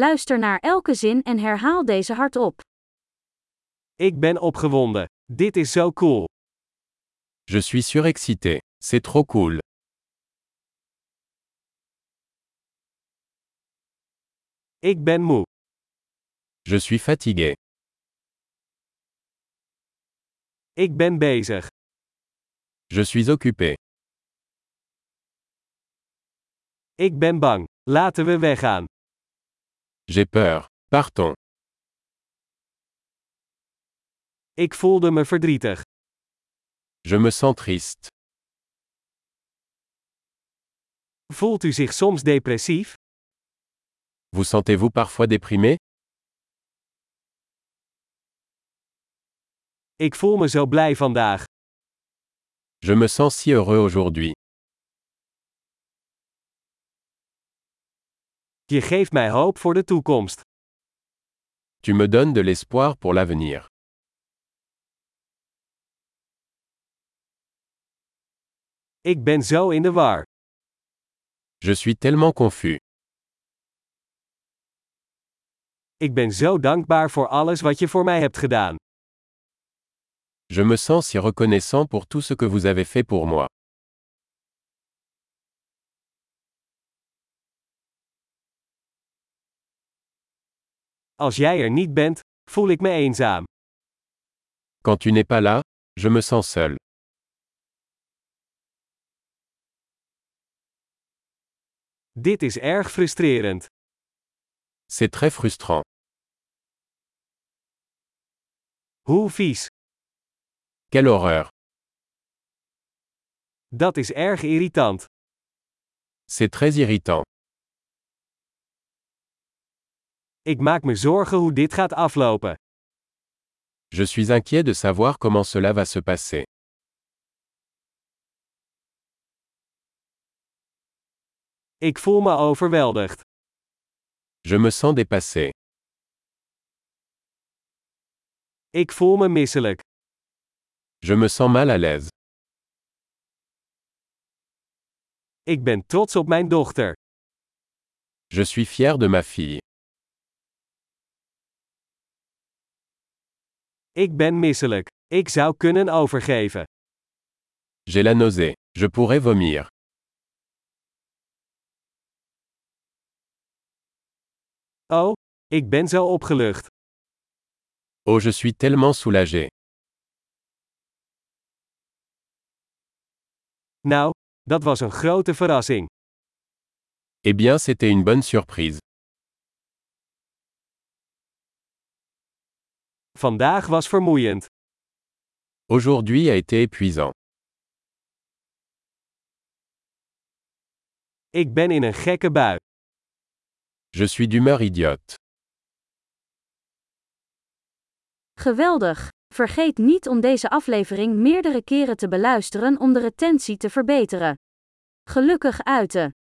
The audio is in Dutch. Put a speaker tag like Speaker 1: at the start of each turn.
Speaker 1: Luister naar elke zin en herhaal deze hardop.
Speaker 2: Ik ben opgewonden. Dit is zo cool.
Speaker 3: Je suis surexcité. C'est trop cool.
Speaker 2: Ik ben moe.
Speaker 3: Je suis fatigué.
Speaker 2: Ik ben bezig.
Speaker 3: Je suis occupé.
Speaker 2: Ik ben bang. Laten we weggaan.
Speaker 3: J'ai peur. Partons.
Speaker 2: Ik voelde me verdrietig.
Speaker 3: Je me sens triste.
Speaker 2: Voelt u zich soms depressief?
Speaker 3: Vous sentez-vous parfois déprimé
Speaker 2: Ik voel me zo blij vandaag.
Speaker 3: Je me sens si heureux aujourd'hui.
Speaker 2: Je geeft mij hoop voor de toekomst.
Speaker 3: Tu me donnes de l'espoir pour l'avenir.
Speaker 2: Ik ben zo in de war.
Speaker 3: Je suis tellement confus.
Speaker 2: Ik ben zo dankbaar voor alles wat je voor mij hebt gedaan.
Speaker 3: Je me sens si reconnaissant pour tout ce que vous avez fait pour moi.
Speaker 2: Als jij er niet bent, voel ik me eenzaam.
Speaker 3: Quand tu n'es pas là, je me sens seul.
Speaker 2: Dit is erg frustrerend.
Speaker 3: C'est très frustrant.
Speaker 2: Hoe vies.
Speaker 3: Quelle horreur.
Speaker 2: Dat is erg irritant.
Speaker 3: C'est très irritant.
Speaker 2: Ik maak me zorgen hoe dit gaat aflopen.
Speaker 3: Je suis inquiet de savoir comment cela va se passer.
Speaker 2: Ik voel me overweldigd.
Speaker 3: Je me sens dépassé.
Speaker 2: Ik voel me misselijk.
Speaker 3: Je me sens mal à l'aise.
Speaker 2: Ik ben trots op mijn dochter.
Speaker 3: Je suis fier de ma fille.
Speaker 2: Ik ben misselijk. Ik zou kunnen overgeven.
Speaker 3: J'ai la nausée. Je pourrais vomir.
Speaker 2: Oh, ik ben zo opgelucht.
Speaker 3: Oh, je suis tellement soulagé.
Speaker 2: Nou, dat was een grote verrassing.
Speaker 3: Eh bien, c'était une bonne surprise.
Speaker 2: Vandaag was vermoeiend.
Speaker 3: Aujourd'hui a été épuisant.
Speaker 2: Ik ben in een gekke bui.
Speaker 3: Je suis d'humeur idiote.
Speaker 1: Geweldig! Vergeet niet om deze aflevering meerdere keren te beluisteren om de retentie te verbeteren. Gelukkig uiten!